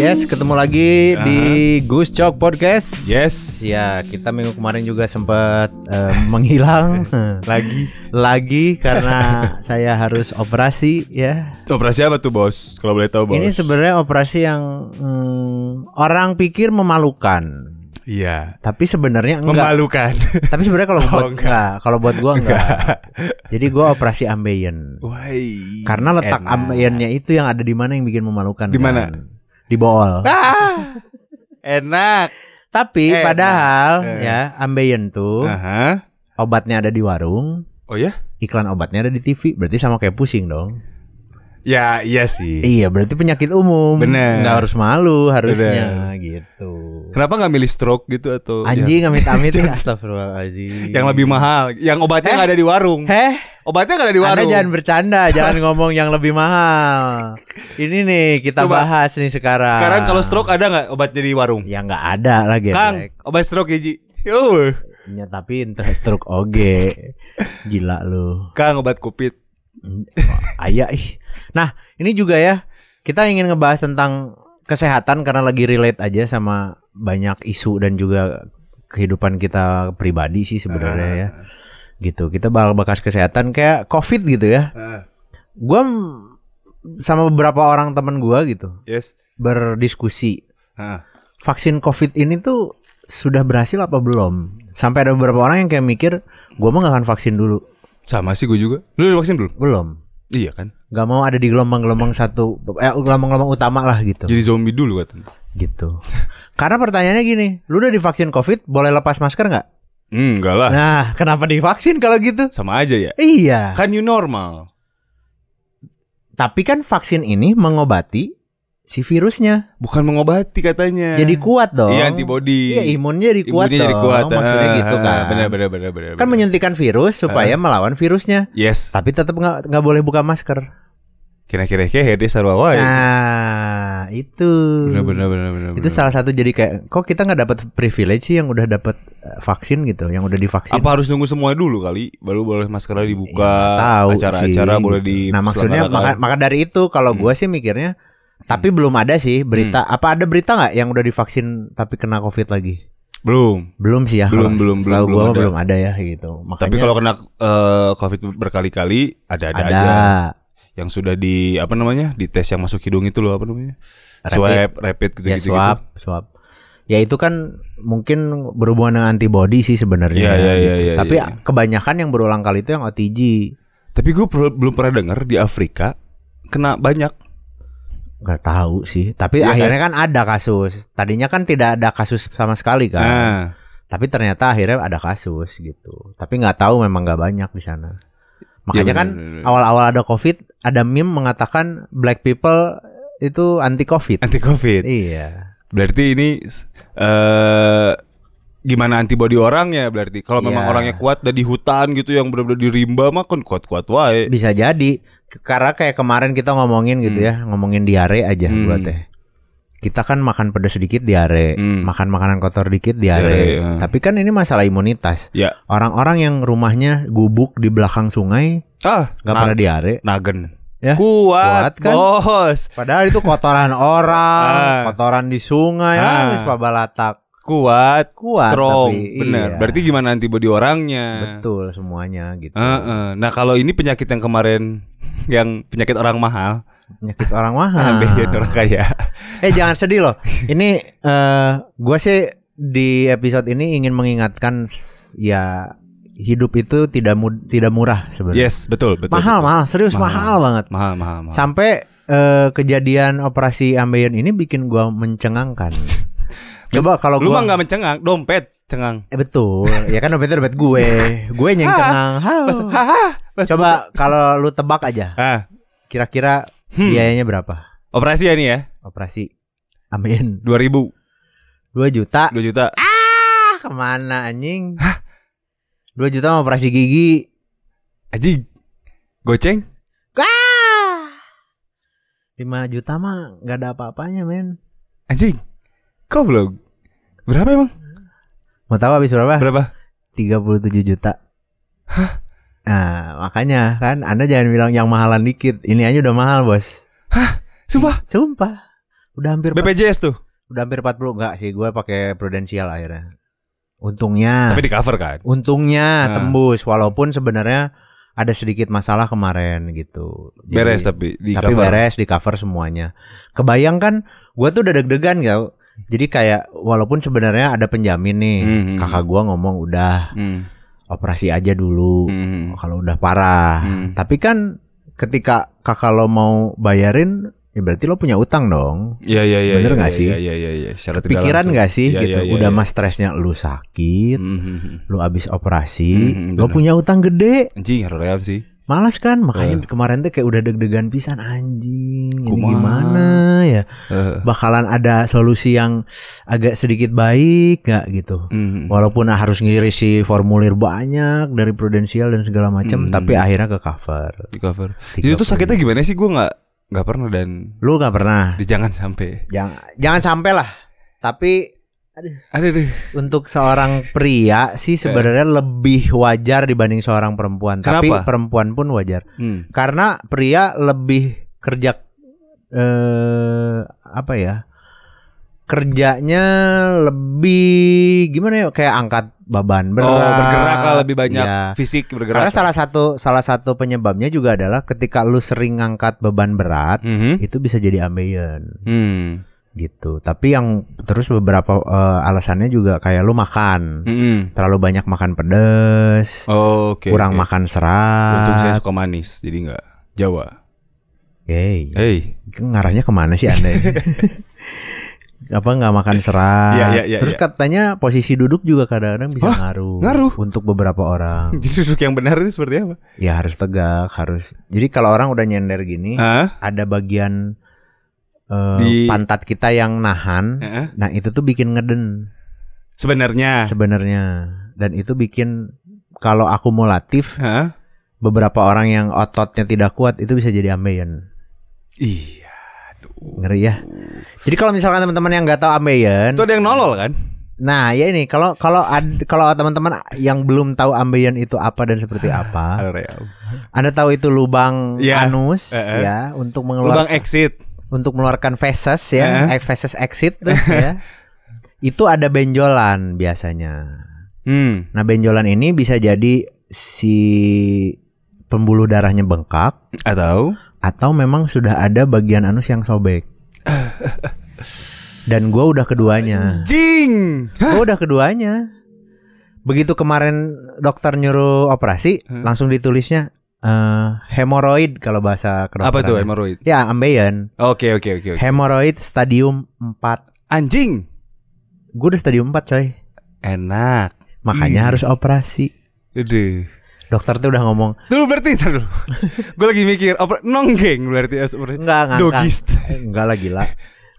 Yes, ketemu lagi di Gus Cok Podcast. Yes. Ya, kita minggu kemarin juga sempat eh, menghilang Lagi. lagi karena saya harus operasi ya. Operasi apa tuh bos? Kalau boleh tahu bos. Ini sebenarnya operasi yang hmm, orang pikir memalukan, Iya. tapi sebenarnya enggak. Memalukan. tapi sebenarnya kalau buat Oh, enggak. enggak. kalau buat gua enggak. Jadi gua operasi ambeien. Why? Karena letak ambeyennya itu yang ada di mana yang bikin memalukan. Di mana? kan? Di bool. Enak. Tapi Eh, padahal nah, eh. ya ambeien tuh Aha. obatnya ada di warung, Oh ya? iklan obatnya ada di TV, berarti sama kayak pusing dong. Ya iya sih. Iya, berarti penyakit umum. Bener. Nggak harus malu harusnya gitu. Kenapa nggak milih stroke gitu atau Anjing amit-amit ya, astagfirullahaladzim. yang, yang lebih mahal? Yang obatnya nggak ada di warung. Heh, Obatnya nggak ada di Anda warung. jangan bercanda, jangan ngomong yang lebih mahal. Ini nih kita Coba. bahas nih sekarang. Sekarang kalau stroke ada nggak obatnya di warung? ya nggak ada lagi. Kang, obat stroke ya Ji. Yo. Ya, tapi entah stroke oge. Gila lu. Kang obat kupit. Hmm, Ayah ih. Nah, ini juga ya. Kita ingin ngebahas tentang kesehatan karena lagi relate aja sama banyak isu dan juga kehidupan kita pribadi sih sebenarnya ya. Gitu. Kita bakal bahas kesehatan kayak Covid gitu ya. Gua m- sama beberapa orang temen gua gitu Yes. berdiskusi Ah. vaksin Covid ini tuh sudah berhasil apa belum? Sampai ada beberapa orang yang kayak mikir, gua mah gak akan vaksin dulu. Sama sih gue juga. Lu udah vaksin belum? Belum. Iya kan. nggak mau ada di gelombang-gelombang satu eh gelombang-gelombang utama lah gitu Jadi zombie dulu katanya. gitu karena pertanyaannya gini lu udah divaksin covid boleh lepas masker nggak Hmm, enggak lah. nah kenapa divaksin kalau gitu Sama aja ya. iya Kan new normal. tapi kan vaksin ini mengobati si virusnya Bukan mengobati katanya. jadi kuat dong Eh. Iya antibody. iya imunnya jadi kuat Imunnya jadi dong. kuat. maksudnya Ah, gitu kan Benar benar benar benar. Ah. kan benar. menyuntikkan virus supaya melawan virusnya Yes. tapi tetap nggak nggak boleh buka masker Kira-kira kayak hede sarwa wae. nah itu Oh, iya. Benar benar benar benar. itu salah satu jadi kayak kok kita nggak dapat privilege sih yang udah dapat eh, vaksin gitu yang udah divaksin Ya, Apa harus nunggu semua dulu kali baru boleh maskernya dibuka, Iya, Nggak tahu acara-acara sih, boleh Hmm. gitu. di nah maksudnya maka, maka dari itu kalau gua sih mikirnya tapi Hmm. belum ada sih berita apa ada berita nggak yang udah divaksin tapi kena covid lagi belum. belum sih ya Belum, kalau belum, setahu belum, gua belum mah ada. belum ada ya gitu makanya Tapi kalau kena eh, Covid berkali-kali ada-ada ada, aja. Yang sudah di apa namanya? di tes yang masuk hidung itu loh apa namanya? Rapid. Swab, rapid ya gitu-gitu. swab swab ya itu kan mungkin berhubungan dengan antibody sih sebenarnya Iya, iya, iya, gitu. iya, tapi iya. kebanyakan yang berulang kali itu yang OTG Tapi gue per- belum pernah dengar di Afrika kena banyak. nggak tahu sih tapi Iya kan? akhirnya kan ada kasus tadinya kan tidak ada kasus sama sekali kan Nah, tapi ternyata akhirnya ada kasus gitu tapi nggak tahu memang nggak banyak di sana makanya Iya, bener, kan bener, bener. awal-awal ada covid ada meme mengatakan black people itu anti covid anti covid. iya Berarti ini eh gimana antibody orangnya berarti. Kalau memang Iya. orangnya kuat dari hutan gitu yang benar-benar di rimba mah kan kuat-kuat wae. bisa jadi Ke- karena kayak kemarin kita ngomongin gitu ya ngomongin diare aja Hmm. gua teh kita kan makan pedas sedikit diare Hmm. makan makanan kotor dikit diare Diare, ya. tapi kan ini masalah imunitas Ya. Orang-orang yang rumahnya gubuk di belakang sungai Ah, nggak na- pernah diare. nagen. Ya. Kuat Kuat, kan? Bos. Padahal itu kotoran Ah. orang, kotoran di sungai, Ah. ah, wis pabalatak. Kuat, Kuat, strong. tapi Benar. iya. Berarti gimana antibody orangnya? Betul semuanya gitu. Heeh. Nah, kalau ini penyakit yang kemarin yang penyakit orang mahal, Penyakit orang mahal. ambeien orang kaya. eh jangan sedih loh. Ini eh gue sih di episode ini ingin mengingatkan s- ya hidup itu tidak mud- tidak murah sebenarnya. Yes, betul, betul. mahal, betul. mahal, serius mahal, Mahal. banget. Mahal, mahal, mahal. Sampai eh, kejadian operasi ambeien ini bikin gua mencengangkan. Coba kalau Lu mah gua nggak mencengang, dompet cengang. Eh, betul, ya kan dompetnya dompet gue, gue yang cengang. Hau. Pas, haha, pas- Oh. Coba kalau lu tebak aja, Ah, kira-kira Hmm. biayanya berapa operasi ya nih ya, operasi? Amin. 2000 ribu, 2 juta. dua juta. Ah, kemana anjing? 2 juta sama operasi gigi. Aji, goceng. Ah. 5 juta mah nggak ada apa-apanya, men. Anjing, kau belum? Berapa emang? Mau tahu habis berapa? Berapa? 37 juta. Nah, makanya kan Anda jangan bilang yang mahalan dikit. Ini aja udah mahal, Bos. Sumpah, Sumpah. Udah hampir BPJS tuh. udah hampir 40 enggak sih gue pakai prudensial akhirnya. Untungnya. Tapi di cover kan. untungnya Nah. tembus walaupun sebenarnya ada sedikit masalah kemarin gitu. Jadi- Beres tapi di tapi cover. beres di cover semuanya. Kebayang kan gue tuh udah deg-degan gak? Jadi kayak walaupun sebenarnya ada penjamin nih, Mhm. kakak gua ngomong udah Hmm. operasi aja dulu Hmm. kalau udah parah. Hmm. Tapi kan ketika kakak lo mau bayarin, ya berarti lo punya utang dong. Iya iya iya. Bener iya, nggak iya, sih? Iya iya iya, iya. Secara tidak Pikiran langsung. gak sih Iya, gitu? iya, iya, udah iya. mas stresnya lu sakit, Mhm. lu abis operasi, Mhm, lo bener. punya utang gede. Anjing harus ream sih. Males kan makanya kemarin tuh kayak udah deg-degan pisan anjing. Ini Eh. Kumaha. gimana ya? Heeh. bakalan ada solusi yang agak sedikit baik nggak gitu. Mhm. Walaupun harus ngirisi formulir banyak dari prudensial dan segala macam, Hmm. tapi akhirnya ke cover. Di cover. 30. Itu tuh sakitnya gimana sih? Gue nggak nggak pernah dan Lu nggak pernah. di jangan sampai. Jangan jangan sampai lah. Tapi Ada deh. untuk seorang pria sih sebenarnya lebih wajar dibanding seorang perempuan. Tapi Kenapa? perempuan pun wajar. Hmm. Karena pria lebih kerja eh apa ya? Kerjanya lebih gimana ya kayak angkat beban berat. Oh bergerak lah lebih banyak Iya. fisik bergerak. Karena salah satu salah satu penyebabnya juga adalah ketika lu sering angkat beban berat Mhm. itu bisa jadi ambeien Hmm. gitu. Tapi yang terus beberapa eh, alasannya juga kayak lu makan Mhm. terlalu banyak makan pedes, Oh, Oke. kurang oke. makan Untung saya serat. suka manis, jadi nggak Jawa. Hey. Hey, ngarahnya kemana sih anda ini? apa nggak makan serat Iya, iya, iya, terus iya. katanya posisi duduk juga kadang-kadang bisa Hah? ngaruh Ngaruh? untuk beberapa orang jadi duduk yang benar itu seperti apa? ya harus tegak harus jadi kalau orang udah nyender gini Hah? ada bagian eh, Di- pantat kita yang nahan Heeh. nah itu tuh bikin ngeden Sebenarnya. sebenarnya dan itu bikin kalau akumulatif Hah? beberapa orang yang ototnya tidak kuat itu bisa jadi ambeien Iya. Aduh. ngeri ya jadi kalau misalkan teman-teman yang nggak tahu ambeien Itu ada yang nolol kan? Nah, ya ini kalau kalau ad- kalau teman-teman yang belum tahu ambeien itu apa dan seperti apa, Ada real. Anda tahu itu lubang Iya. anus Eh, eh. ya untuk mengeluarkan Lubang exit. untuk mengeluarkan feses ya, Eh, eh, feses exit tuh ya. Itu ada benjolan biasanya. Hmm. Nah, benjolan ini bisa jadi si pembuluh darahnya bengkak Atau? atau memang sudah ada bagian anus yang sobek. Dan gua udah keduanya. Jing. Gue udah keduanya. Begitu kemarin dokter nyuruh operasi, Hah? langsung ditulisnya eh hemoroid kalau bahasa kedokteran. Apa tuh hemoroid? Ya, ambeien. Oke oke oke. oke. Hemoroid stadium 4. Anjing. Gue udah stadium 4, coy. Enak. Ih. Makanya harus operasi. Udah. Dokter tuh udah ngomong, Dulu berarti ntar dulu. Gue lagi mikir oper nonggeng berarti ya sebenarnya. "Enggak, ngangkat." Dogist. Enggak lah gila.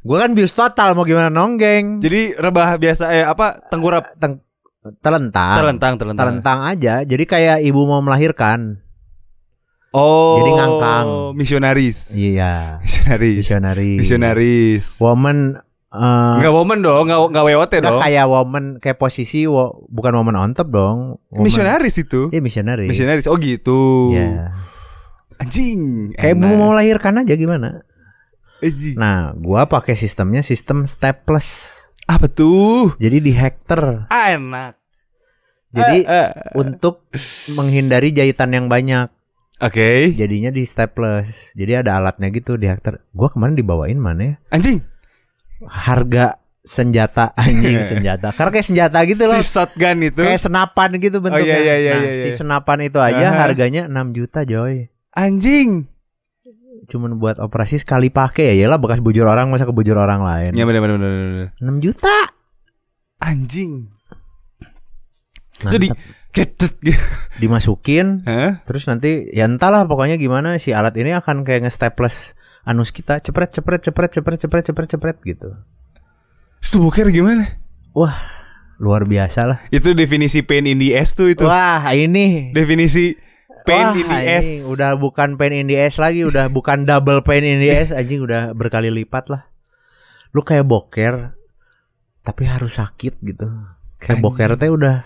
Gue kan bius total mau gimana nonggeng. Jadi rebah biasa eh apa tengkurap Teng- telentang. terlentang terlentang. Telentang aja. Jadi kayak ibu mau melahirkan. Oh. Jadi ngangkang. Misionaris. Iya. Misionaris. Visionary. Misionaris. Woman eh, Enggak woman dong, enggak enggak wewote Nggak Iya dong. kayak woman kayak posisi wo- bukan woman on top dong. Woman- Misionaris itu. Iya misionaris. Misionaris. Oh gitu. Iya. Anjing. Kayak enak. Eh, mau melahirkan aja gimana? Anjing. Nah, gua pakai sistemnya sistem stepless. Apa tuh? Jadi di hektar. Ah, enak. Jadi Eh, eh. untuk menghindari jahitan yang banyak, Oke. jadinya di stepless. Jadi ada alatnya gitu di hektar. Gua kemarin dibawain mana ya? Anjing. Harga senjata anjing senjata. Karena kayak senjata gitu loh. Si shotgun itu. Kayak senapan gitu bentuknya. iya, iya, iya, nah, iya, si iya. senapan itu aja Aha. harganya 6 juta, coy. Anjing. cuman buat operasi sekali pakai ya lah bekas bujur orang masa ke bujur orang lain. Ya benar benar benar, benar. 6 juta. Anjing. Itu Jadi di cetet gitu. dimasukin Hah? terus nanti ya entahlah pokoknya gimana si alat ini akan kayak nge-staples anus kita cepret cepret cepret cepret cepret cepret cepret gitu. Stuboker gimana? Luar biasa lah. Itu definisi pain in the ass tuh itu. Wah, ini Definisi pain Wah, in the ass. anjing, Udah bukan pain in the ass lagi, udah bukan double pain in the ass, anjing udah berkali lipat lah. Lu kayak boker tapi harus sakit gitu. Kayak boker teh udah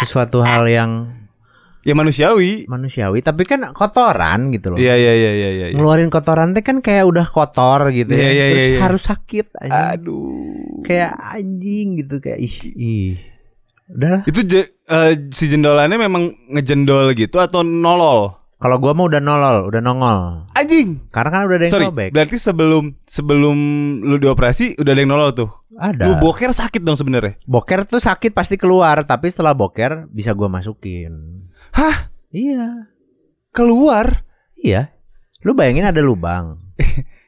sesuatu hal yang Ya manusiawi. manusiawi tapi kan kotoran gitu loh Iya iya iya iya iya. iya. ngeluarin kotoran teh kan kayak udah kotor gitu Iya, ya iya, terus iya, iya. harus sakit anjing. Aduh. kayak anjing gitu kayak ih ih udahlah Itu je- eh, si jendolannya memang ngejendol gitu atau nolol? kalau gua mah udah nolol udah nongol Anjing. karena kan udah ada yang Sorry, sobek berarti sebelum sebelum lu dioperasi udah ada yang nolol tuh. ada Lu boker sakit dong sebenarnya. boker tuh sakit pasti keluar tapi setelah boker bisa gua masukin Hah? iya Keluar? iya lu bayangin ada lubang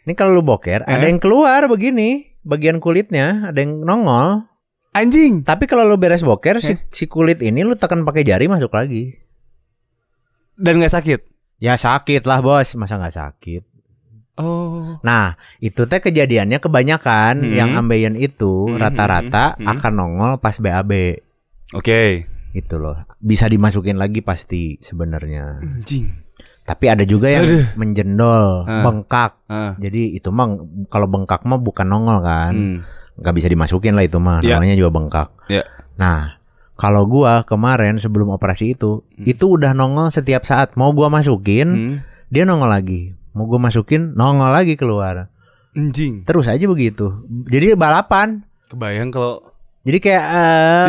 ini kalau lu boker ada Eh? yang keluar begini bagian kulitnya ada yang nongol Anjing. tapi kalau lu beres boker Eh? si, si kulit ini lu tekan pakai jari masuk lagi Dan nggak sakit. Ya sakit lah bos, masa nggak sakit? Oh. Nah itu teh kejadiannya kebanyakan Hmm. yang ambeien itu Hmm, rata-rata hmm, hmm. akan nongol pas BAB Oke. gitu loh. Bisa dimasukin lagi pasti sebenarnya. Anjing. Tapi ada juga yang Aduh. menjendol, Ah. bengkak. Ah. Jadi itu mah kalau bengkak mah bukan nongol kan, Hmm. nggak bisa dimasukin lah itu mah. Ya. Namanya juga bengkak. Ya. Nah kalau gua kemarin sebelum operasi itu, Hmm. itu udah nongol setiap saat. Mau gua masukin, Hmm. dia nongol lagi mau gue masukin nongol lagi keluar Anjing. terus aja begitu jadi balapan Kebayang kalau jadi kayak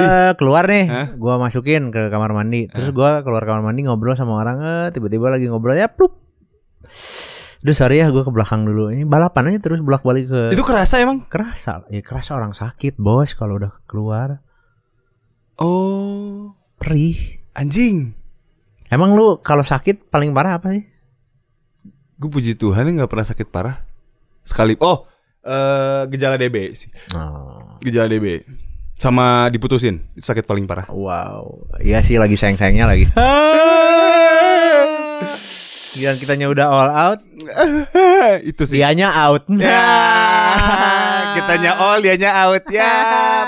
eh keluar nih Hah? gue masukin ke kamar mandi terus gue keluar kamar mandi ngobrol sama orang eh, tiba-tiba lagi ngobrol ya plup Duh sorry ya gue ke belakang dulu ini balapan aja terus bolak balik ke itu kerasa emang. kerasa ya kerasa orang sakit bos kalau udah keluar Oh. perih Anjing. emang lu kalau sakit paling parah apa sih Gue puji Tuhan ya nggak pernah sakit parah. Sekali. Oh. eh gejala DB sih. oh. Gejala DB. Sama diputusin. Itu sakit paling parah. wow Iya sih lagi sayang sayangnya lagi Giliran kitanya udah all out itu sih. Dianya out. Ya, kitanya all, dianya out ya,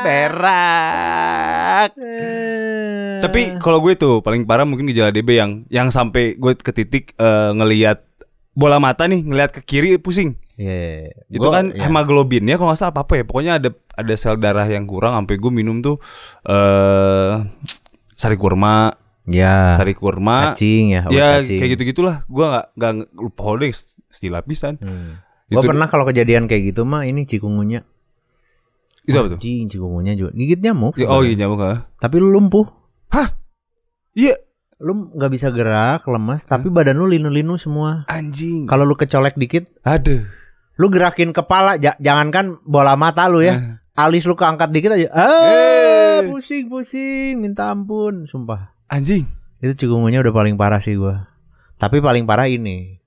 berak. Eh. Tapi kalau gue tuh paling parah mungkin gejala DB yang yang sampai gue ke titik eh, ngelihat bola mata nih, ngelihat ke kiri pusing. Iya, Itu gua- kan ya. hemoglobin ya kalau nggak salah apa apa ya. Pokoknya ada ada sel darah yang kurang sampai gue minum tuh eh sari kurma, ya sari kurma. cacing ya, obat Ya cacing. kayak gitu-gitulah. Gue nggak nggak lupa holding setiap lapisan. Hmm. Itu- Gua pernah kalau kejadian kayak gitu mah ini cikungunya. Itu apa tuh? Anjing, cikungunya juga gigit nyamuk. Oh sebenarnya. iya nyamuk ah. Tapi lu lumpuh. Iya, Lu nggak bisa gerak, lemas, tapi badan lu linu-linu semua. anjing. Kalau lu kecolek dikit, Aduh. lu gerakin kepala, ja- jangankan bola mata lu Nah, ya. Alis lu keangkat dikit aja. Eh. Eh, pusing-pusing, minta ampun, sumpah. Anjing. Itu cikungunya udah paling parah sih gua Tapi paling parah ini.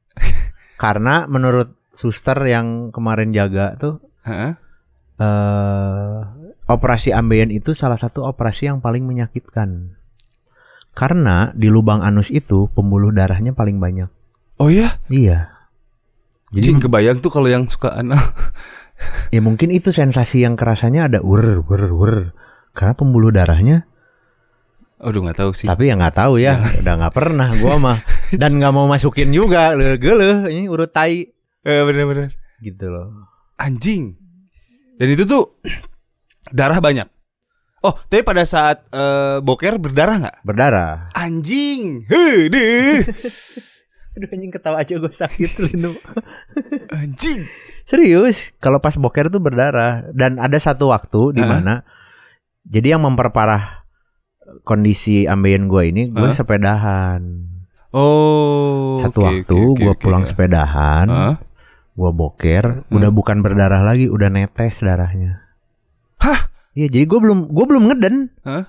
Karena menurut suster yang kemarin jaga tuh Hah? eh operasi ambeien itu salah satu operasi yang paling menyakitkan. Karena di lubang anus itu pembuluh darahnya paling banyak. Oh ya? Iya. Jadi Jadi kebayang tuh kalau yang suka anak. ya mungkin itu sensasi yang kerasanya ada ur ur ur karena pembuluh darahnya Aduh nggak tahu sih. tapi ya nggak tahu ya udah nggak pernah gua mah dan nggak mau masukin juga geleh ini urut tai Eh bener-bener. gitu loh Anjing. Dan itu tuh darah banyak. Oh, tapi pada saat eh, boker berdarah nggak? berdarah. Anjing. Heuh. Aduh anjing ketawa aja gue sakit linu. Anjing. Serius, kalau pas boker tuh berdarah dan ada satu waktu di Heeh. mana jadi yang memperparah kondisi ambeien gue ini Heeh. gue sepedahan. Oh. satu oke, waktu oke, oke, gue oke. pulang sepedahan, Hah? gue boker, udah Hmm. bukan berdarah lagi, udah netes darahnya. Hah? Iya, jadi gue belum gue belum ngeden. Hah?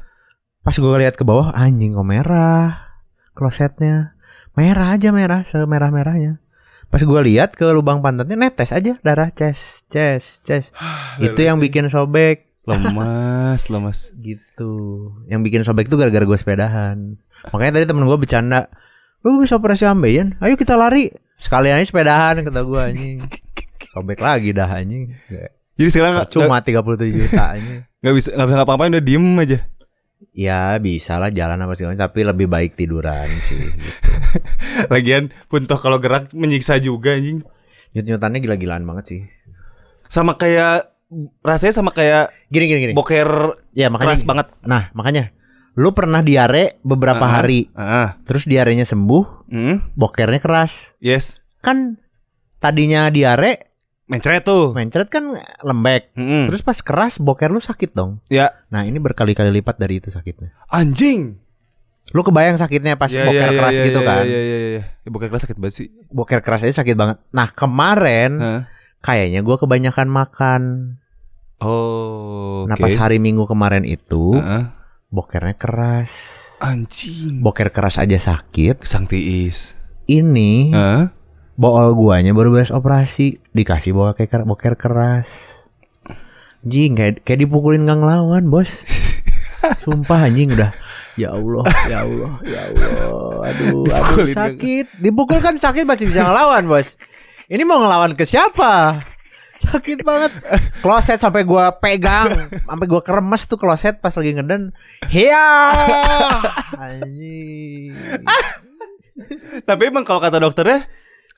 Pas gue lihat ke bawah anjing kok merah klosetnya. Merah aja merah, semerah-merahnya. Pas gue lihat ke lubang pantatnya netes aja darah ces ces ces. Itu yang bikin sobek Eh, Lemas, lemas. gitu. Yang bikin sobek itu gara-gara gue sepedahan. Makanya tadi temen gue bercanda, "Lu bisa operasi ambeien? Ayo kita lari." Sekalian aja sepedahan kata gue anjing. Sobek lagi dah anjing. Jadi sekarang nggak- Cuma 37 juta anjing. nggak bisa nggak bisa ngapa-ngapain udah diem aja. Ya bisa lah jalan apa segala macam, tapi lebih baik tiduran sih. Lagian pun toh kalau gerak menyiksa juga anjing. Nyut-nyutannya gila-gilaan banget sih. Sama kayak rasanya sama kayak Gini gini gini. boker ya makanya keras banget. Nah, makanya Lu pernah diare beberapa Ah, hari, ah, terus diarenya sembuh, hmm, bokernya keras. yes, Kan tadinya diare, mencret tuh. mencret kan lembek. Mm-mm. Terus pas keras boker lu sakit dong. ya Nah, ini berkali-kali lipat dari itu sakitnya. anjing. Lu kebayang sakitnya pas Ya, boker ya, ya, keras ya, gitu ya, kan. Ya, ya, ya, ya. Ya, boker keras sakit banget sih. Boker keras aja sakit banget. Nah, kemarin Hah? kayaknya gua kebanyakan makan. Oh, oke. Nah, pas hari Minggu kemarin itu Heeh. bokernya keras. Anjing. Boker keras aja sakit. Sang tiis. Ini Heeh. Bool guanya baru beres operasi Dikasih bawa kayak ker- boker keras Jing kayak, kayak dipukulin gak ngelawan bos Sumpah anjing udah Ya Allah Ya Allah Ya Allah Aduh, aduh Dipukulin nggak- sakit Dipukul kan sakit masih bisa ngelawan bos Ini mau ngelawan ke siapa Sakit banget Kloset sampai gua pegang Sampai gua keremes tuh kloset pas lagi ngeden Hiya Anjing Tapi emang kalau kata dokternya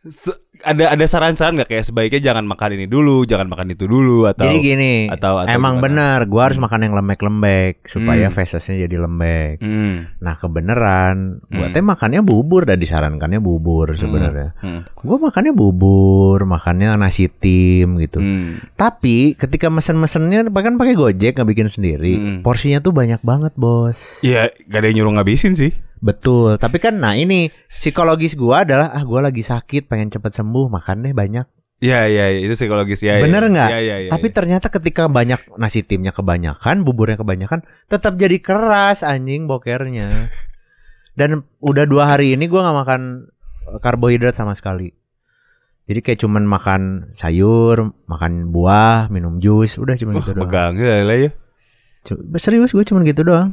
se- ada ada saran-saran nggak kayak sebaiknya jangan makan ini dulu, jangan makan itu dulu atau Jadi gini, atau- atau emang gimana? bener, gue harus makan yang lembek-lembek supaya Hmm. fesesnya jadi lembek. Hmm. Nah kebeneran, gue Hmm. teh makannya bubur, dan disarankannya bubur sebenarnya. Hmm. Gue makannya bubur, makannya nasi tim gitu. Hmm. Tapi ketika mesen-mesennya bahkan pakai gojek nggak bikin sendiri, Hmm. porsinya tuh banyak banget bos. Ya, gak ada yang nyuruh ngabisin sih. Betul, tapi kan nah ini psikologis gue adalah ah gue lagi sakit pengen cepet sembuh makan deh banyak. Ya, ya, ya, itu psikologis ya. ya. Bener nggak? Ya, ya, ya, ya. Tapi ternyata ketika banyak nasi timnya kebanyakan, buburnya kebanyakan, tetap jadi keras anjing bokernya. Dan udah dua hari ini gua nggak makan eh, karbohidrat sama sekali. Jadi kayak cuman makan sayur, makan buah, minum jus, udah cuman Wah, gitu doang. megang ya, lah ya. Cu- Serius gue cuman gitu doang.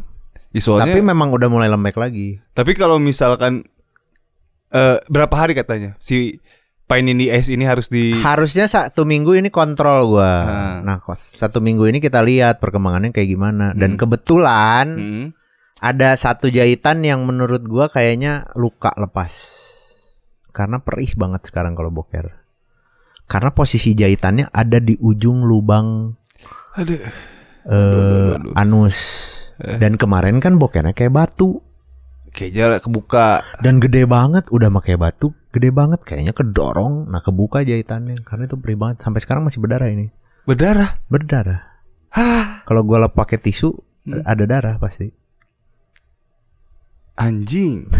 Ya, soalnya- Tapi memang udah mulai lembek lagi. Tapi kalau misalkan eh berapa hari katanya si Pine in the Ice ini harus di Harusnya satu minggu ini kontrol gua. Ah. Nah, kok satu minggu ini kita lihat perkembangannya kayak gimana. Dan Hmm. kebetulan Hmm. ada satu jahitan yang menurut gua kayaknya luka lepas. Karena perih banget sekarang kalau boker. Karena posisi jahitannya ada di ujung lubang Aduh. Eh. eh, anus. Dan kemarin kan bokernya kayak batu Kayaknya kebuka. dan gede banget udah pakai batu, gede banget kayaknya kedorong. Nah, kebuka jahitannya karena itu perih banget sampai sekarang masih berdarah ini. Berdarah. Berdarah. Hah. Kalau gua lap pakai tisu Hmm. ada darah pasti. Anjing.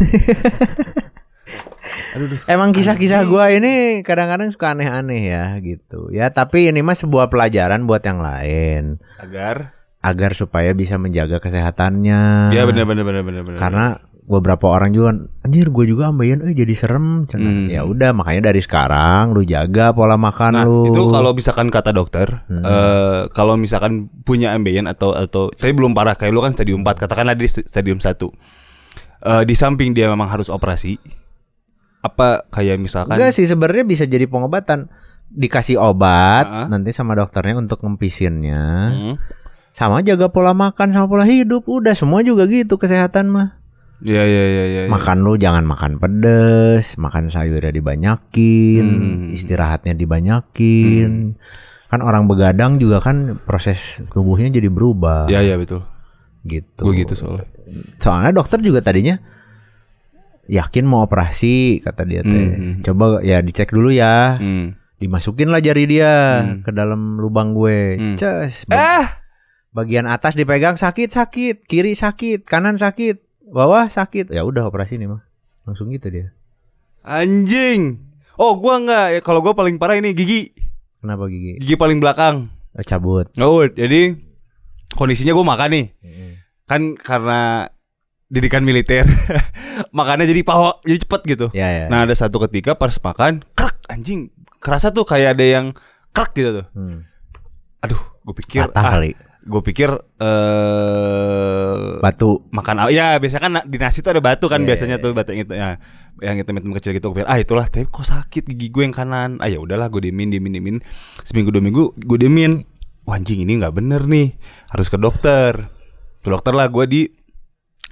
Aduh. duh. Emang kisah-kisah Anjing. gua ini kadang-kadang suka aneh-aneh ya gitu. Ya tapi ini mah sebuah pelajaran buat yang lain Agar. agar supaya bisa menjaga kesehatannya. Ya benar benar benar benar benar. Nah. Karena beberapa orang juga anjir gue juga ambeien eh jadi serem Cina." Hmm. ya udah makanya dari sekarang lu jaga pola makan Nah, lu itu kalau misalkan kata dokter, eh Hmm. kalau misalkan punya ambeien atau atau saya belum parah kayak lu kan stadium 4, katakanlah di stadium 1. Eh di samping dia memang harus operasi. Apa kayak misalkan enggak sih sebenarnya bisa jadi pengobatan dikasih obat Ah. nanti sama dokternya untuk ngempisinnya Hmm. sama jaga pola makan sama pola hidup udah semua juga gitu kesehatan mah Ya ya ya ya. ya. Makan lu jangan makan pedes, makan sayurnya dibanyakin, Hmm. istirahatnya dibanyakin. Kan orang begadang juga kan proses tubuhnya jadi berubah Ya ya betul. gitu. Gue gitu soalnya. Soalnya dokter juga tadinya yakin mau operasi kata dia teh. Hmm. Coba ya dicek dulu ya. Hmm. Dimasukin lah jari dia Hmm. ke dalam lubang gue. Hmm. Ces, ba- Bagian atas dipegang sakit-sakit, kiri sakit, kanan sakit, bawah sakit. Ya udah operasi nih mah. Langsung gitu dia. Anjing. Oh, gua enggak. Ya, kalau gua paling parah ini gigi. Kenapa gigi? Gigi paling belakang. Eh, Cabut. Oh, jadi kondisinya gua makan nih. Kan karena didikan militer. Makannya jadi pawa, jadi cepet gitu. Ya ya. Nah, ada satu ketika pas makan, krek anjing. Kerasa tuh kayak ada yang krek gitu tuh. Hmm. Aduh, gue pikir Patah ah, kali. gue pikir eh Batu. makan apa- ya biasanya kan na- di nasi tuh ada batu kan Iya, biasanya iya, tuh batu yang itu ya, yang hitam hitam kecil gitu gue pikir ah itulah tapi kok sakit gigi gue yang kanan ah ya udahlah gue diemin diemin diemin seminggu dua minggu gue diemin Wah, anjing ini nggak bener nih harus ke dokter ke dokter lah gue di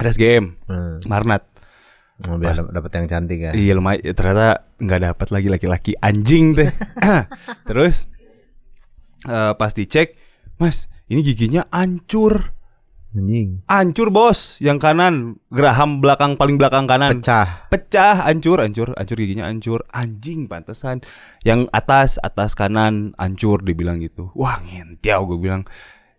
RSGM Hmm. Marnat Oh, biar dap- dapet yang cantik ya. Iya lumayan ternyata nggak dapat lagi laki-laki anjing deh. Terus eh, pas dicek, Mas, ini giginya ancur. anjing Hancur bos, yang kanan, geraham belakang paling belakang kanan. pecah Pecah, hancur, hancur, hancur giginya hancur. Anjing pantesan. Yang atas, atas kanan hancur dibilang gitu. Wah, ngentiau gue bilang.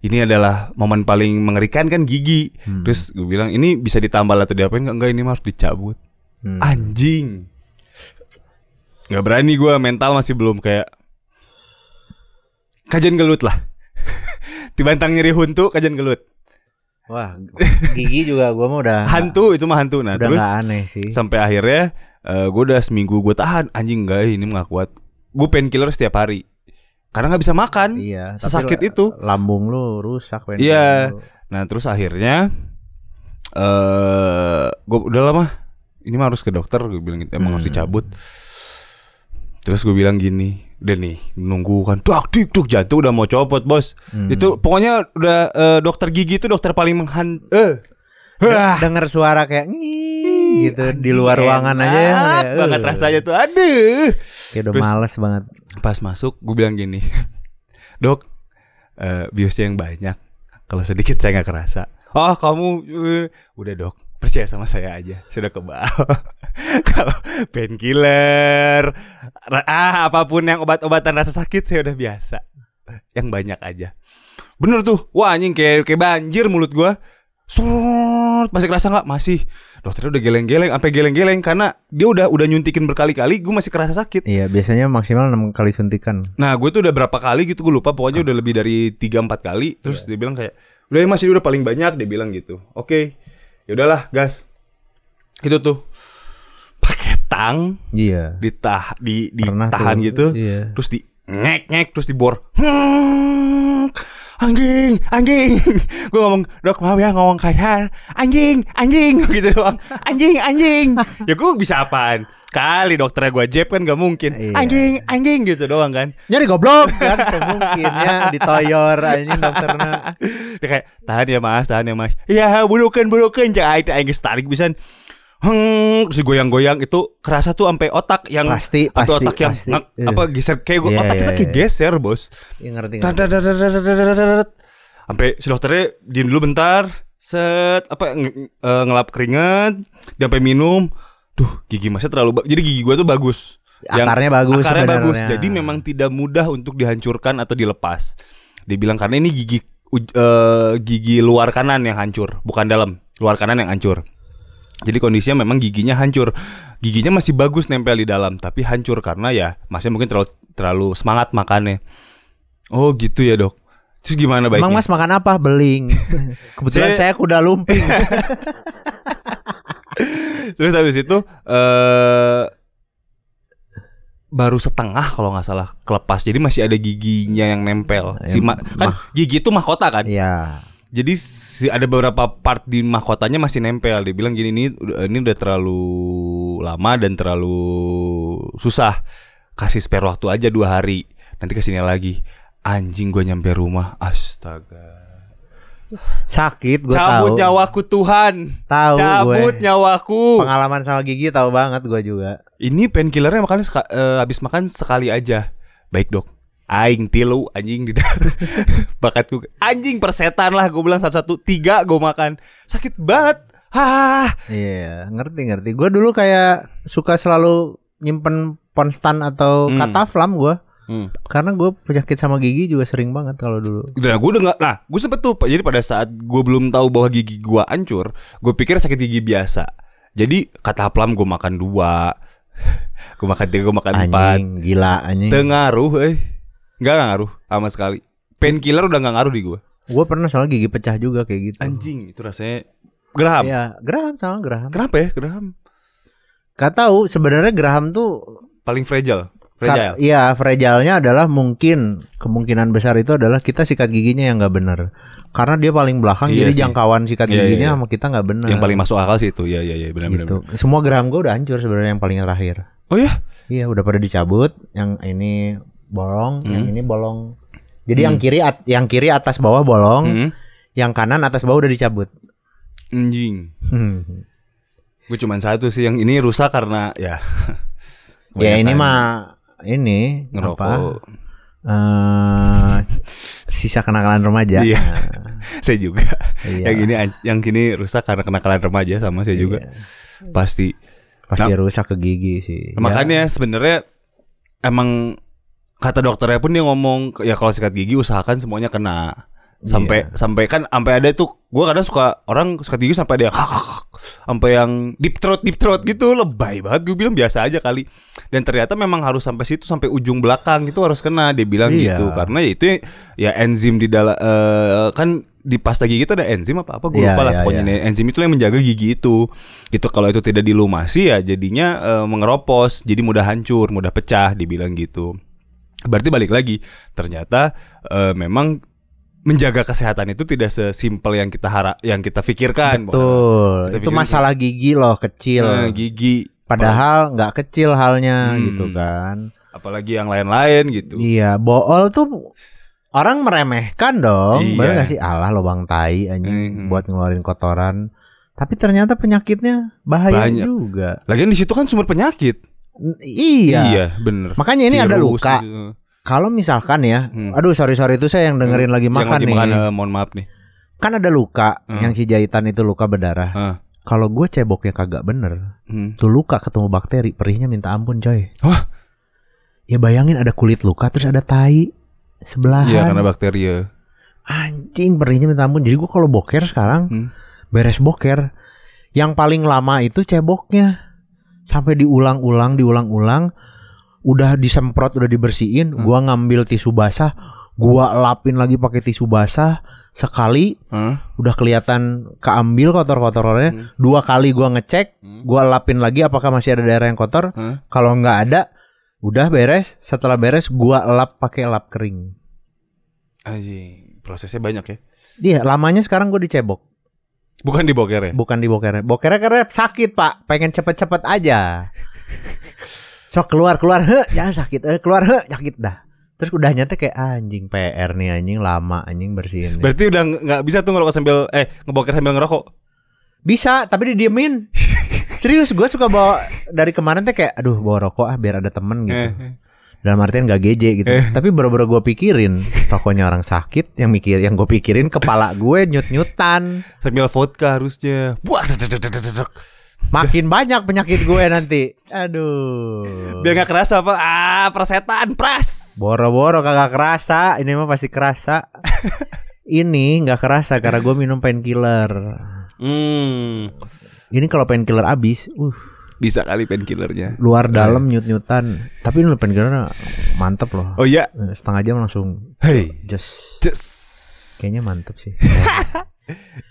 Ini adalah momen paling mengerikan kan gigi. Hmm. Terus gue bilang ini bisa ditambal atau diapain nggak? Enggak, ini mah harus dicabut. Hmm. Anjing. Nggak berani gue, mental masih belum kayak kajian gelut lah. Dibantang nyeri huntu, kajian gelut. wah gigi juga gua mah udah hantu itu mah hantu nah Nah. udah terus nggak aneh sih sampai akhirnya gue udah seminggu gue tahan anjing gak ini nggak kuat gue painkiller setiap hari karena nggak bisa makan iya tapi sesakit la- itu lambung lu rusak Wen. Iya. Lu- nah terus akhirnya eh gue udah lama ini mah harus ke dokter gue bilang gitu emang Hmm. harus dicabut terus gue bilang gini udah nih nunggu kan duk duk duk jantung udah mau copot bos Hmm. itu pokoknya udah eh, dokter gigi itu dokter paling menghan eh De- denger suara kayak "Ngii" gitu di luar ruangan aja ya Enak kayak, Ah, banget "Eh." rasanya tuh aduh Kayak udah Terus- males banget pas masuk gue bilang gini dok eh, biusnya yang banyak kalau sedikit saya nggak kerasa oh kamu eh." udah dok percaya sama saya aja sudah kebal kalau painkiller ra- ah apapun yang obat-obatan rasa sakit saya udah biasa yang banyak aja bener tuh wah anjing kayak kayak banjir mulut gua Surut, masih kerasa nggak? Masih. Dokternya udah geleng-geleng, sampai geleng-geleng karena dia udah udah nyuntikin berkali-kali, gue masih kerasa sakit. Iya biasanya maksimal 6 kali suntikan Nah gue tuh udah berapa kali gitu gue lupa Ah. pokoknya udah lebih dari 3-4 kali Terus dia Iya. bilang kayak udah ya masih udah paling banyak dia bilang gitu Oke ya udahlah gas Itu tuh pakai tang Iya ditah di Pernah ditahan tuh, gitu iya. terus di ngek ngek terus dibor hmm, anjing anjing gue ngomong dok mau ya ngomong kasar anjing anjing gitu doang anjing anjing ya gue bisa apaan kali dokternya gue jeb kan gak mungkin Iya. anjing anjing gitu doang kan Nyari goblok kan mungkinnya ditoyor anjing dokternya dia kayak tahan ya mas tahan ya mas ya burukan burukan jangan ada yang tarik bisa Hmm, terus goyang-goyang itu kerasa tuh sampai otak yang Pasti, atau pasti, otak yang pasti. ngak- apa geser kayak gua- Iya, otak kita iya, kayak iya. geser bos Ya ngerti ngerti Dadadadadadadadadadadad. sampai si dokternya diem dulu bentar set apa nge- eh, ngelap keringat dia sampai minum duh gigi masnya terlalu ba- jadi gigi gua tuh bagus Akarnya bagus akarnya sebenarnya. bagus jadi memang tidak mudah untuk dihancurkan atau dilepas dibilang karena ini gigi uj- eh, gigi luar kanan yang hancur bukan dalam luar kanan yang hancur jadi kondisinya memang giginya hancur. Giginya masih bagus nempel di dalam, tapi hancur karena ya masnya mungkin terlalu terlalu semangat makannya. Oh gitu ya dok. Terus gimana baiknya? Emang mas makan apa? Beling Kebetulan Saya- saya, kuda lumping Terus habis itu eh baru setengah kalau nggak salah kelepas. Jadi masih ada giginya yang nempel. Si ma- kan gigi itu mahkota kan. Iya Jadi si- ada beberapa part di mahkotanya masih nempel. Dia bilang gini ini udah- ini udah terlalu lama dan terlalu susah. Kasih spare waktu aja dua hari. Nanti kesini lagi. Anjing gua nyampe rumah. Astaga. Sakit gue Cabut tahu. nyawaku Tuhan. Tahu Cabut gue. nyawaku. Pengalaman sama gigi tahu banget gue juga Ini painkillernya makan seka- eh, habis makan sekali aja. Baik dok. Aing tilu anjing di darah Bakatku anjing persetan lah gue bilang satu-satu tiga gue makan sakit banget. Hah. Iya ngerti ngerti Gue dulu kayak suka selalu nyimpen ponstan atau Hmm. kataflam gue Karena gue penyakit sama gigi juga sering banget kalau dulu Nah gue dengar, nah gue sempet tuh jadi pada saat gue belum tahu bahwa gigi gue hancur, gue pikir sakit gigi biasa. Jadi kata plam gue makan dua, gue makan tiga, gue makan empat. Anjing gila anjing Dengaruh, eh, nggak nggak ngaruh sama sekali. Painkiller udah nggak ngaruh di gue. Gue pernah soal gigi pecah juga kayak gitu. Anjing itu rasanya geraham. Iya, Graham sama Graham. Kenapa ya geraham? Gak tahu sebenarnya Graham tuh Paling fragile, ka- fragile. Iya, fragile-nya adalah mungkin kemungkinan besar itu adalah kita sikat giginya yang nggak benar. Karena dia paling belakang Iya jadi sih. jangkauan sikat Iya, giginya iya, iya. sama kita nggak benar. Yang paling masuk akal sih itu, ya ya ya benar-benar. Nah. gitu. Semua Graham gue udah hancur sebenarnya yang paling terakhir. Oh ya, Iya, udah pada dicabut. Yang ini bolong, yang Hmm. ini bolong. Jadi yang kiri at- yang kiri atas bawah bolong, Hmm. yang kanan atas bawah udah dicabut. Ya, anjing. Gue cuman satu sih yang ini rusak karena ya. ya ini kebanyakan mah ini ngerokok. apa? eh sisa kenakalan remaja. Iya. Ya Nah, Saya juga. Iya. yang ini an- yang kini rusak karena kenakalan remaja sama saya juga pasti Pasti rusak ke gigi sih. Nah. Iya. makanya sebenarnya emang kata dokternya pun dia ngomong ya kalau sikat gigi usahakan semuanya kena sampai Iya. sampai kan sampai ada tuh gua kadang suka orang sikat gigi sampai ada yang sampai yang deep throat deep throat gitu lebay banget gue bilang biasa aja kali dan ternyata memang harus sampai situ sampai ujung belakang itu harus kena dia bilang Iya. gitu karena ya itu ya enzim di dalam eh, kan di pasta gigi itu ada enzim apa apa gue Iya, lupa lah iya, pokoknya iya. nih, enzim itu yang menjaga gigi itu gitu kalau itu tidak dilumasi ya jadinya eh, mengeropos jadi mudah hancur mudah pecah dibilang gitu berarti balik lagi ternyata eh, memang menjaga kesehatan itu tidak sesimpel yang kita harap yang kita pikirkan Ya, Betul. Kita Itu pikirin masalah gigi loh kecil. Eh, gigi Padahal nggak kecil halnya Hmm. gitu kan. apalagi yang lain-lain gitu Iya, bool tuh orang meremehkan dong. Iya. Bener nggak sih Allah lubang tai Mhm. anjing buat ngeluarin kotoran. Tapi ternyata penyakitnya bahaya Banyak. juga. lagian di situ kan sumber penyakit N- Iya. bener Makanya ini ada Virus luka. gitu. Kalau misalkan ya, Hmm. aduh sorry sorry itu saya yang dengerin lagi Yang makan lagi nih. makan, eh, mohon maaf nih Kan ada luka Hmm. yang si jahitan itu luka berdarah. Hah. Kalau gue ceboknya kagak bener, Hmm. tuh luka ketemu bakteri, perihnya minta ampun coy. Wah. Ya bayangin ada kulit luka terus ada tai sebelahan. Iya karena bakteri ya. Anjing perihnya minta ampun. Jadi gue kalau boker sekarang Hmm. beres boker, yang paling lama itu ceboknya sampai diulang-ulang, diulang-ulang, udah disemprot, udah dibersihin, Hmm. gua ngambil tisu basah, gua lapin lagi pakai tisu basah sekali Hah? udah kelihatan keambil kotor-kotorannya Hmm. dua kali gua ngecek Hmm. gua lapin lagi apakah masih ada daerah yang kotor Hah? kalau nggak ada udah beres setelah beres gua lap pakai lap kering Anjing, prosesnya banyak ya. iya lamanya sekarang gue dicebok Bukan di boker ya? bukan di bokernya bokernya karena sakit pak pengen cepet-cepet aja sok keluar keluar heh jangan sakit eh keluar heh sakit dah terus udah nyata kayak anjing PR nih anjing lama anjing bersihin Berarti udah nggak nggak bisa tuh ngerokok sambil eh ngeboker sambil ngerokok. Bisa, tapi didiemin. Serius, gue suka bawa dari kemarin teh kayak, aduh bawa rokok ah biar ada temen gitu. Eh, Dalam artian gak geje gitu. Tapi baru-baru gue pikirin, tokonya orang sakit yang mikir, yang gue pikirin kepala gue nyut-nyutan. sambil vodka harusnya. Buah, dedek, dedek, dedek, dedek. Makin banyak penyakit gue nanti. Aduh. Biar nggak kerasa apa? Ah, persetan, pras. Boro-boro kagak kerasa, ini mah pasti kerasa. ini nggak kerasa karena gue minum painkiller. Hmm, Ini kalau painkiller abis, uh bisa kali painkillernya. luar dalam nyut-nyutan. Tapi ini painkiller mantep loh. Eh. Oh iya. Eh, setengah jam langsung Hey. just Cus. kayaknya mantep sih Beca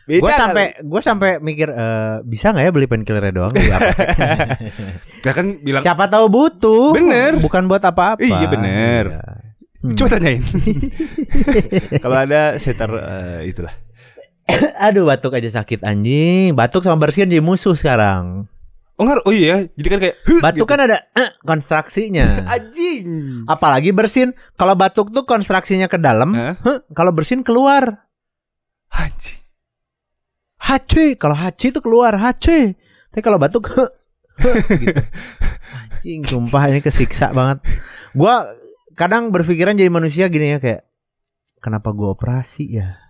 gue Iya, kali. sampai gue sampai mikir eh, bisa nggak ya beli painkiller doang di apotek? Ya kan bilang siapa tahu butuh Bener. bukan buat apa-apa Iya, bener. Iya. coba tanyain. Kalau ada setar eh, itulah. aduh batuk aja sakit anjing batuk sama bersihin jadi musuh sekarang Oh nggak, oh iya, jadi kan kayak huh, gitu. batuk kan ada eh, konstruksinya anjing. apalagi bersin kalau batuk tuh konstruksinya ke dalam Hah? heh, kalau bersin keluar Anjing. haci kalau haci itu keluar haci tapi kalau batuk heh, heh, gitu. anjing sumpah ini kesiksa banget gua kadang berpikiran jadi manusia gini ya kayak kenapa gua operasi ya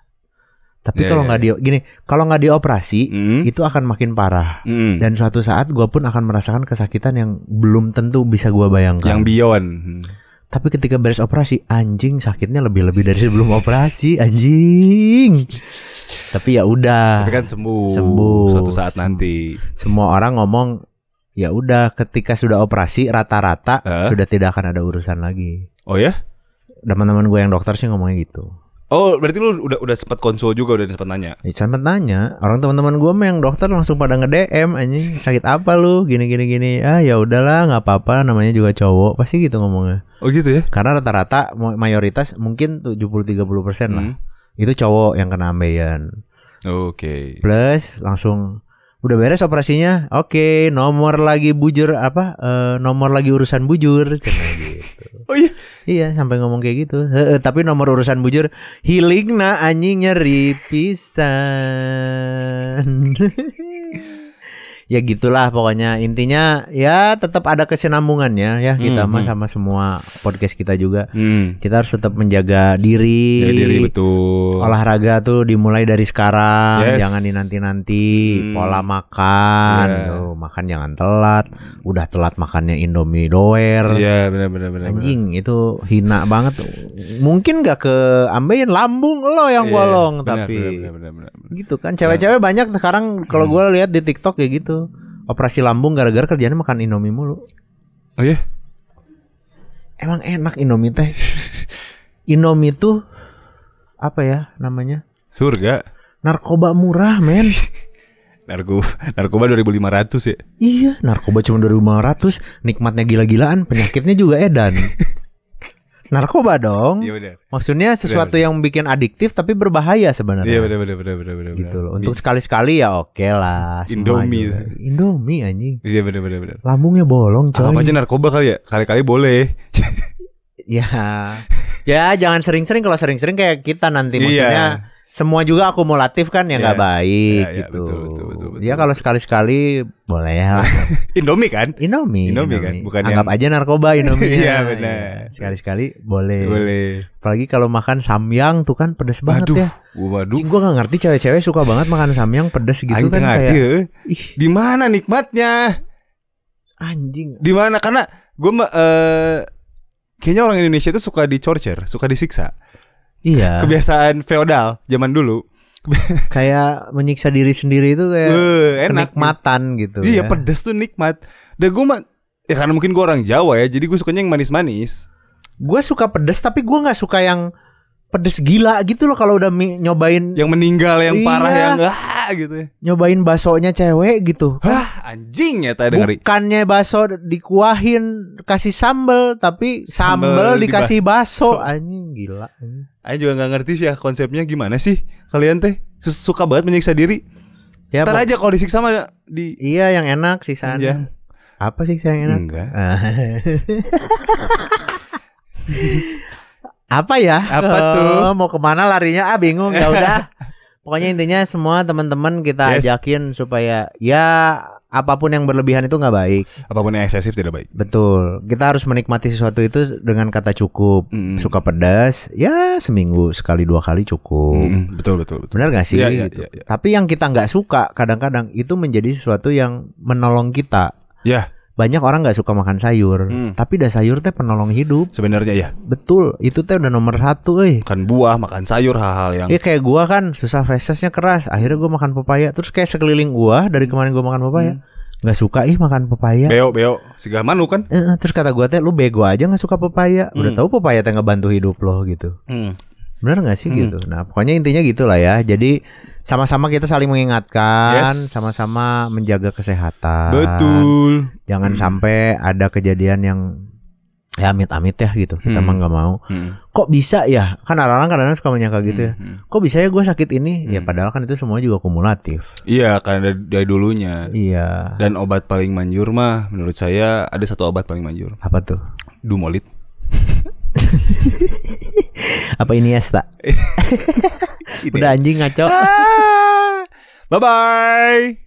tapi Ya, kalau ya, nggak di gini kalau nggak dioperasi Hmm. itu akan makin parah Hmm. dan suatu saat gua pun akan merasakan kesakitan yang belum tentu bisa gua yang bayangkan beyond. tapi ketika beres operasi anjing sakitnya lebih lebih dari sebelum operasi anjing tapi ya udah Tapi kan sembuh. Sembuh. Suatu saat Sembuh. nanti. semua orang ngomong ya udah ketika sudah operasi rata-rata Hah? sudah tidak akan ada urusan lagi. Oh ya? Teman-teman gue yang dokter sih ngomongnya gitu. Oh, berarti lu udah udah sempat konsul juga udah sempat nanya. Ya, Sampai nanya orang teman-teman gue mah yang dokter langsung pada nge DM anjing sakit apa lu gini gini gini ah ya udahlah nggak apa-apa namanya juga cowok pasti gitu ngomongnya Oh gitu ya? karena rata-rata mo- mayoritas mungkin 70-30% Hmm. lah itu cowok yang kena ambeien Oke. plus langsung udah beres operasinya oke nomor lagi bujur apa eh, nomor lagi urusan bujur Cina gitu. Oh iya. iya sampai ngomong kayak gitu Heeh, tapi nomor urusan bujur healing na anjing nyeri pisan ya gitulah pokoknya intinya ya tetap ada kesinambungannya ya kita Hmm, mah hmm. sama semua podcast kita juga Hmm. kita harus tetap menjaga diri, Jadi diri betul. olahraga tuh dimulai dari sekarang Yes. Iya. jangan dinanti nanti Hmm. pola makan Yeah. tuh, makan jangan telat udah telat makannya indomie doer Iya benar benar benar. Anjing itu hina banget Mungkin gak ke ambein lambung lo benar. yang Iya, bolong benar, Tapi benar, benar, benar, benar. Hmm. gitu kan Cewek-cewek banyak sekarang Kalau gue lihat di tiktok ya gitu Operasi lambung gara-gara kerjanya makan indomie mulu Oh iya. Emang enak indomie teh Indomie tuh Apa ya namanya Surga. Narkoba murah men Narko narkoba 2500 ya. Iya narkoba cuma 2500 Nikmatnya gila-gilaan Penyakitnya juga edan Narkoba dong Iya benar. Maksudnya sesuatu yang bikin adiktif tapi berbahaya sebenarnya. Iya benar benar benar benar benar. gitu loh. Untuk sekali-sekali ya oke lah. semua Indomie. juga. Indomie anjing. Iya benar benar benar. Lambungnya bolong coy. Apa aja narkoba kali ya? Kali-kali boleh. Ya. Ya jangan sering-sering kalau sering-sering kayak kita nanti Iya. maksudnya semua juga akumulatif kan ya Iya. nggak baik Iya, iya, gitu. betul, betul, betul, betul, ya kalau sekali-sekali boleh lah. Indomie kan? Indomie. Indomie kan, bukan Anggap aja narkoba Indomie. Iya, benar. Sekali-sekali boleh. Boleh. Apalagi kalau makan samyang tuh kan pedes Iya. banget Waduh, ya. waduh. Cing gue gak ngerti cewek-cewek suka banget makan samyang pedes gitu Aing kan tengah eh. kayak dia. ih Di mana nikmatnya? anjing Di mana? Karena gue eh kayaknya orang Indonesia itu suka di torture, suka disiksa. iya Kebiasaan feodal zaman dulu. kayak menyiksa diri sendiri itu kayak Eh, enak. kenikmatan gitu Iya, Iya, ya. pedes tuh nikmat. Dan gue mah ya karena mungkin gue orang Jawa ya, jadi gue sukanya yang manis-manis. gue suka pedes tapi gue nggak suka yang pedes gila gitu loh kalau udah mi- nyobain Yang meninggal, yang parah, Iya. yang ah gitu. ya. nyobain baksonya cewek gitu Hah, anjing ya tadi hari. bukannya bakso dikuahin kasih sambel tapi Sambel sambel di dikasih bakso anjing gila anjing. Aku juga nggak ngerti sih ya konsepnya gimana sih kalian teh Su- suka banget menyiksa diri. ya, Ntar pok- aja kalau disiksa mah di iya yang enak sisaan Iya. apa sih yang enak enggak. apa ya? Apa Eh, tuh? Mau kemana larinya? Ah bingung. Ya udah. Pokoknya intinya semua teman-teman kita Yes. ajakin supaya ya apapun yang berlebihan itu nggak baik. Apapun yang eksesif tidak baik. Betul. Kita harus menikmati sesuatu itu dengan kata cukup. Mm. Suka pedas, ya seminggu sekali dua kali cukup. Mm, betul betul betul. Benar gak sih? Iya, iya, gitu? iya, iya. Tapi yang kita nggak suka kadang-kadang itu menjadi sesuatu yang menolong kita. Ya, Banyak orang nggak suka makan sayur, Mm. tapi dah sayur teh penolong hidup. sebenarnya ya Betul, itu teh udah nomor satu, eh. makan buah, makan sayur hal-hal yang Iya kayak gua kan susah fesesnya keras. Akhirnya gua makan pepaya. Terus kayak sekeliling gua Hmm. dari kemarin gua makan pepaya nggak suka ih makan pepaya. Mm. beo beo segala manu kan. Eh, eh, terus kata gua teh lu bego aja nggak suka pepaya. Udah tahu pepaya teh ngebantu hidup lo gitu. Hmm. Bener nggak sih gitu? Nah pokoknya intinya gitulah ya. Jadi sama-sama kita saling mengingatkan, Yes. sama-sama menjaga kesehatan. Betul. Hmm. Jangan sampai ada kejadian yang ya amit-amit ya gitu. Kita Hmm. mah nggak mau. Hmm. Kok bisa ya? Kan orang-orang kadang-kadang suka menyangka gitu ya. Hmm. kok bisa ya gue sakit ini ya padahal kan itu semua juga kumulatif Iya, karena dari, dari dulunya. iya Dan obat paling manjur mah menurut saya ada satu obat paling manjur. apa tuh Dumolit. apa ini Iniesta udah anjing ngaco Ah. Bye bye.